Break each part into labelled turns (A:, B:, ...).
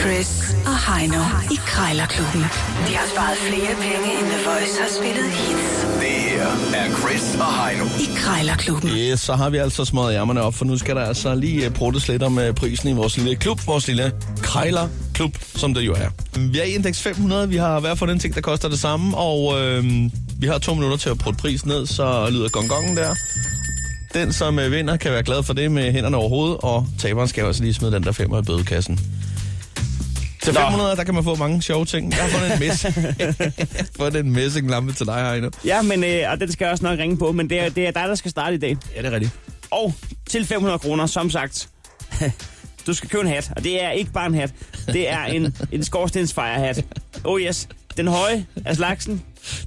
A: Chris og Heino i Krejlerklubben. De har sparet flere penge, end The Voice har spillet hits
B: Det her er Chris og Heino.
A: i Krejlerklubben.
C: Yes, så har vi altså smået ærmerne op, for nu skal der altså lige øh, pruttes lidt om øh, prisen i vores lille klub, vores lille krejlerklub, som det jo er. Vi er i indeks 500, vi har hver for den ting, der koster det samme, og øh, vi har to minutter til at prutte prisen ned, så lyder gongongen der. Den, som øh, vinder, kan være glad for det med hænderne over hovedet, og taberen skal også lige smide den der femmer i bødekassen. Til 500, der kan man få mange sjove ting. Jeg har fundet en messing. fundet en messinglampe til dig, Heino.
D: Ja, men, øh, og den skal jeg også nok ringe på, men det er, det er dig, der skal starte i dag.
C: Ja, det er rigtigt.
D: Og til 500 kroner, som sagt, du skal købe en hat, og det er ikke bare en hat. Det er en, en skorstensfejerhat. Oh yes, den høje af slagsen.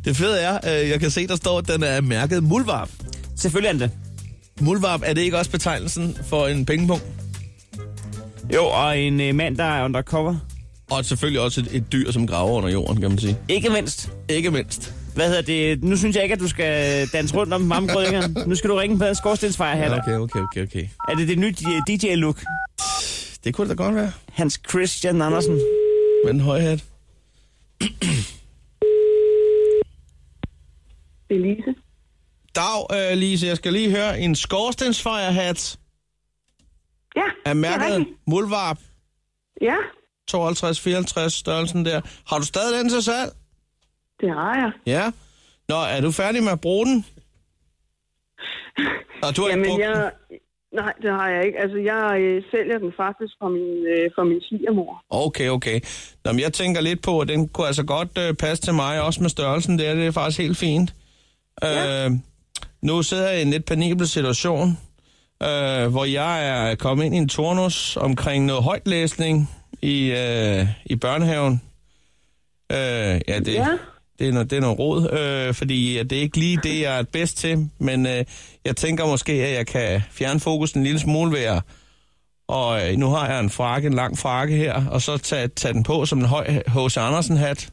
C: Det fede er, øh, jeg kan se, der står, at den er mærket mulvarp.
D: Selvfølgelig er den det.
C: Mulvarp, er det ikke også betegnelsen for en pengepung?
D: Jo, og en øh, mand, der er undercover.
C: Og selvfølgelig også et, et dyr, som graver under jorden, kan man sige.
D: Ikke mindst.
C: Ikke mindst.
D: Hvad hedder det? Nu synes jeg ikke, at du skal danse rundt om mammegrødingerne. Nu skal du ringe på en skorstensfejerhat. Okay.
C: Okay, okay, okay, okay.
D: Er det det nye DJ-look?
C: Det kunne det da godt være.
D: Hans Christian Andersen.
C: Med en høj hat.
E: Det er Lise.
C: Dag, øh, Lise, jeg skal lige høre. En skorstensfejerhat
E: Ja,
C: er
E: det er
C: mærket
E: rigtigt.
C: mulvarp
E: Ja,
C: 52-54 størrelsen der. Har du stadig den til salg?
E: det har jeg.
C: Ja. Nå, er du færdig med at bruge den? Nå, du har ikke
E: Jamen,
C: brugt den.
E: jeg... Nej, det har jeg ikke. Altså, jeg øh, sælger den faktisk for min, øh, for min svigermor.
C: Okay, okay. Nå, men jeg tænker lidt på, at den kunne altså godt øh, passe til mig, også med størrelsen der. Det er faktisk helt fint. Ja. Øh, nu sidder jeg i en lidt penibel situation, øh, hvor jeg er kommet ind i en turnus omkring noget højtlæsning i, øh, i børnehaven. Øh, ja, det, ja.
E: Ja.
C: det, er noget, det er noget råd, øh, fordi at det er ikke lige det, jeg er bedst til, men øh, jeg tænker måske, at jeg kan fjerne fokus en lille smule ved at og øh, nu har jeg en frakke, en lang frakke her, og så tage, tage den på som en høj H.C. Andersen-hat,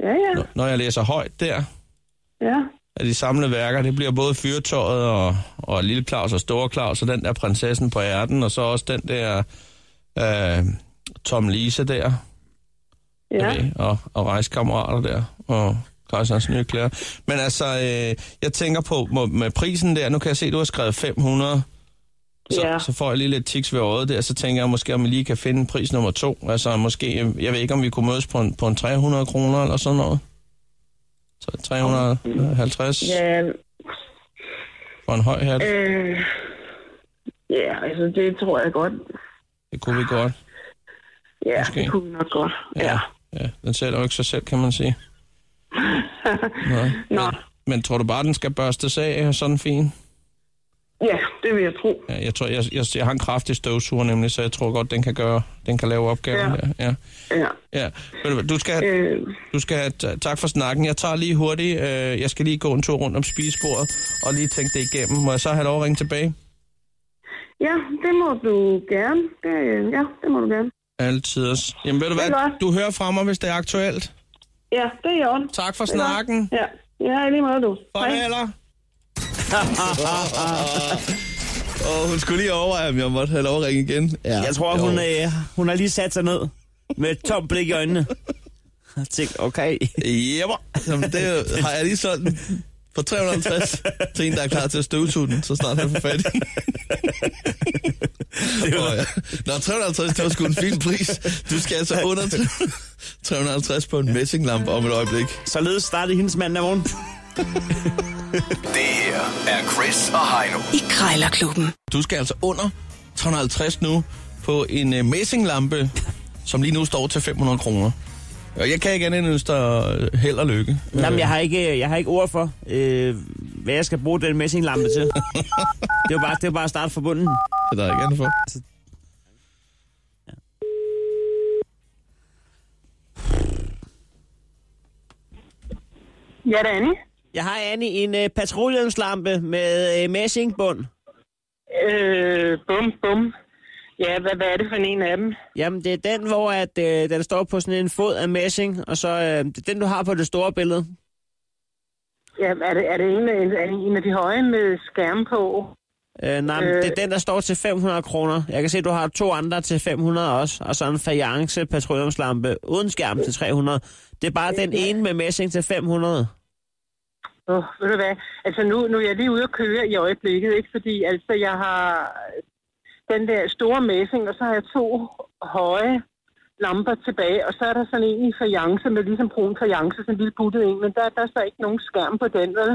E: Ja, ja,
C: når- når jeg læser højt der
E: ja.
C: af de samlede værker. Det bliver både Fyrtøjet og, og Lille Claus og Store Claus, og den der prinsessen på ærten, og så også den der øh, Tom Lise der,
E: ja.
C: okay, og, og rejskammerater der, og Christians nye klæder. Men altså, øh, jeg tænker på må- med prisen der, nu kan jeg se, du har skrevet 500, så,
E: Ja.
C: så får jeg lige lidt tiks ved øjet der, så tænker jeg måske, om vi lige kan finde pris nummer to. Altså måske, øh, jeg ved ikke, om vi kunne mødes på en, på en 300 kroner eller sådan noget. Så 350 ja.
E: Ja,
C: for en høj hat,
E: øh, ja, altså, det tror jeg godt.
C: det kunne vi godt.
E: Ja,
C: Måske.
E: det kunne vi nok godt. Ja. ja.
C: ja. Den sælger jo ikke sig selv, kan man sige. Nej.
E: Nå,
C: Men tror du bare, den skal børstes af og sådan fin?
E: ja, det vil jeg tro.
C: Ja, jeg tror, jeg, jeg, jeg har en kraftig støvsuger nemlig, så jeg tror godt, den kan gøre, den kan lave opgaven ja.
E: Ja.
C: der. Ja.
E: Ja.
C: Ja. Ved du hvad, Du skal, have,
E: Øh,
C: du skal have, ta- tak for snakken. Jeg tager lige hurtigt, øh, jeg skal lige gå en tur rundt om spisebordet og lige tænke det igennem. Må jeg så have lov at ringe tilbage?
E: ja, det må du gerne. Det, øh, ja, det må du gerne.
C: Altid. Jamen ved du
E: Det er
C: hvad,
E: godt.
C: du hører fra mig, hvis det er aktuelt.
E: Ja, det er i orden.
C: Tak for
E: Det er godt.
C: snakken.
E: Ja, ja i lige måde, du.
C: Farveler. og hun skulle lige overveje, om jeg måtte have lov at ringe igen. Ja,
D: Jeg tror, hun, øh, hun har lige sat sig ned med et tomt blik i øjnene. Jeg tænkte, okay.
C: Jepper. Jamen, det er jo- har jeg lige solgt den for 350 til en, der er klar til at støvsuge den, så snart han får fat i den. Åh, ja. Nå, 350, det var sgu en fin pris. Du skal altså under 350 på en messinglampe om et øjeblik.
D: Således startede hendes mand af morgen.
B: Det her er Chris og Heino.
A: I Krejlerklubben.
C: Du skal altså under 350 nu på en uh, messinglampe, som lige nu står til 500 kroner. Og jeg kan ikke andet end ønske dig øh, held og lykke.
D: Jamen, jeg har ikke, jeg har ikke ord for, øh, hvad jeg skal bruge den messinglampe til. Det er jo bare, det er jo bare at starte fra bunden.
C: Det er der ikke andet for.
E: Ja, det er Annie.
D: Jeg har, Anne, en øh, patruljehjemslampe med øh, messingbund.
E: Øh, bum, bum. Ja, hvad, hvad er det for en af dem?
D: Jamen, det er den, hvor at, øh, den står på sådan en fod af messing, og så øh, det er den, du har på det store billede.
E: Ja, er det, er det en, af- en, er det en af de høje med skærm på?
D: Øh, nej, øh.
E: Øh.
D: det er den, der står til 500 kroner. Jeg kan se, du har to andre til 500 også, og så en fajance petroleumslampe uden skærm til 300. Det er
E: Øh,
D: bare den ene med messing til 500.
E: Åh, ved du hvad? Altså, nu, nu er jeg lige ude at køre i øjeblikket, ikke? Fordi altså, jeg har den der store messing, og så har jeg to høje lamper tilbage, og så er der sådan en i fajance med ligesom brun fajance, sådan en lille buttet en, men der, der er så ikke nogen skærm på den, vel?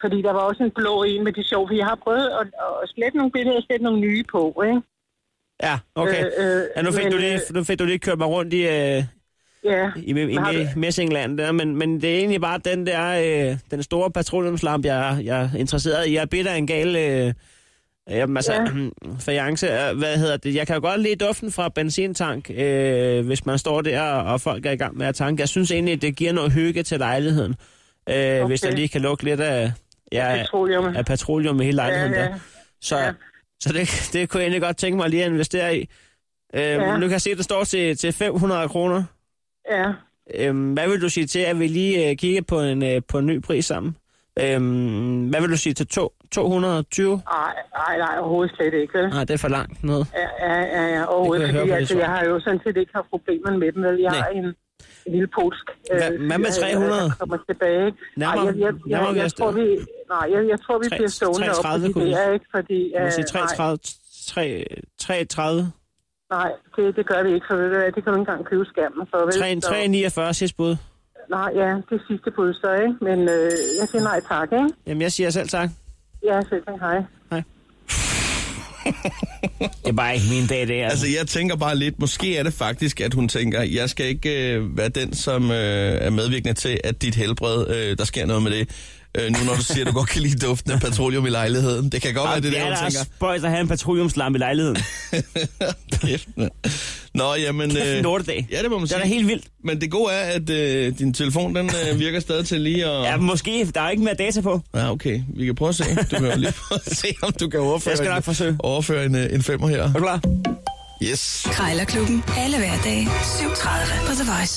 E: Fordi der var også en blå en med de sjov, for jeg har prøvet at, at slette nogle billeder og slette nogle nye på, ikke?
D: Ja, okay.
E: Øh, øh,
D: ja, nu, fik
E: men,
D: du lige, nu fik du lige kørt mig rundt i, øh,
E: Ja.
D: i, i,
E: Har
D: i
E: du-
D: messingland der, men, men det er egentlig bare den der, øh, den store petroleumslampe, jeg, jeg er interesseret i. Jeg er bidt af en gal, øh, jamen, altså, ja. fajance, øh, hvad hedder det? Jeg kan jo godt lide duften fra benzintank, øh, hvis man står der, og folk er i gang med at tanke. Jeg synes egentlig, det giver noget hygge til lejligheden, øh, okay. hvis der
E: Okay.
D: lige kan lukke lidt af, ja,
E: Petroleum.
D: af petroleum i hele lejligheden ja, ja.
E: Ja,
D: der.
E: ja.
D: Så, ja.
E: Ja.
D: så det, det kunne jeg egentlig godt tænke mig lige at investere i. Øh, ja.
E: Ja.
D: Nu kan jeg se, at det står til, til 500 kroner.
E: Ja.
D: Øhm, hvad vil du sige til, at vi lige øh, kigger på en, øh, på en ny pris sammen? Øhm, hvad vil du sige til to, 220?
E: Ej, nej, nej, overhovedet slet ikke, vel?
D: Nej, det er for langt ned.
E: Ja, ja, ja, ja.
D: Det
E: overhovedet,
D: kunne jeg høre
E: fordi
D: på dit
E: altså,
D: svar.
E: jeg har jo sådan set ikke haft problemer med dem, vel? Jeg
D: Nej.
E: har en, en lille polsk... øh,
D: Hvad- hvad med
E: fyr, øh,
D: 300?
E: Der kommer tilbage. ikke?
D: Nærmere-
E: Ej, jeg, jeg, jeg,
D: nærmere
E: jeg,
D: vi
E: jeg
D: os
E: tror,
D: der.
E: vi, nej, jeg, jeg tror, vi
D: Tre-
E: bliver stående op
D: 33
E: på
D: kunne
E: de
D: vi-
E: der, ikke? Fordi,
D: Du må
E: øh,
D: sige
E: nej,
D: 33, 3, 33,
E: nej det, det gør vi ikke, for ved du hvad, det kan du ikke engang købe skærmen for, vel?
D: 3,
E: Øh, Så-
D: 349 sidste bud.
E: Nej, ja, det er sidste bud så, ikke? Men øh, jeg siger nej tak, ikke?
D: Jamen, jeg siger selv tak.
E: Ja, selv tak, hej.
D: Det er bare ikke min dag, det er.
C: Altså, jeg tænker bare lidt, måske er det faktisk, at hun tænker, jeg skal ikke øh, være den, som øh, er medvirkende til, at dit helbred, øh, der sker noget med det. Øh, nu når du siger, at du godt kan lide duften af petroleum i lejligheden. Det kan godt være, det er
D: er
C: det,
D: da
C: hun tænker.
D: også spøjs at have en petroleumslampe i lejligheden.
C: Kæft, mand. Nå, jamen... øh,
D: Kæft, en lortedag.
C: Ja, det må man
D: Det er
C: sige.
D: da helt vildt.
C: Men det gode er, at øh, din telefon, den øh, virker stadig til lige at...
D: Ja, måske. Der er ikke mere data på.
C: Ja, okay. Vi kan prøve at se. Du kan jo lige prøve at se, om du kan overføre,
D: Jeg skal nok forsøge.
C: En, overføre en, øh, en femmer her.
D: Er du klar?
C: Yes.
A: Krejlerklubben. Alle hverdage. 7.30 på The Voice.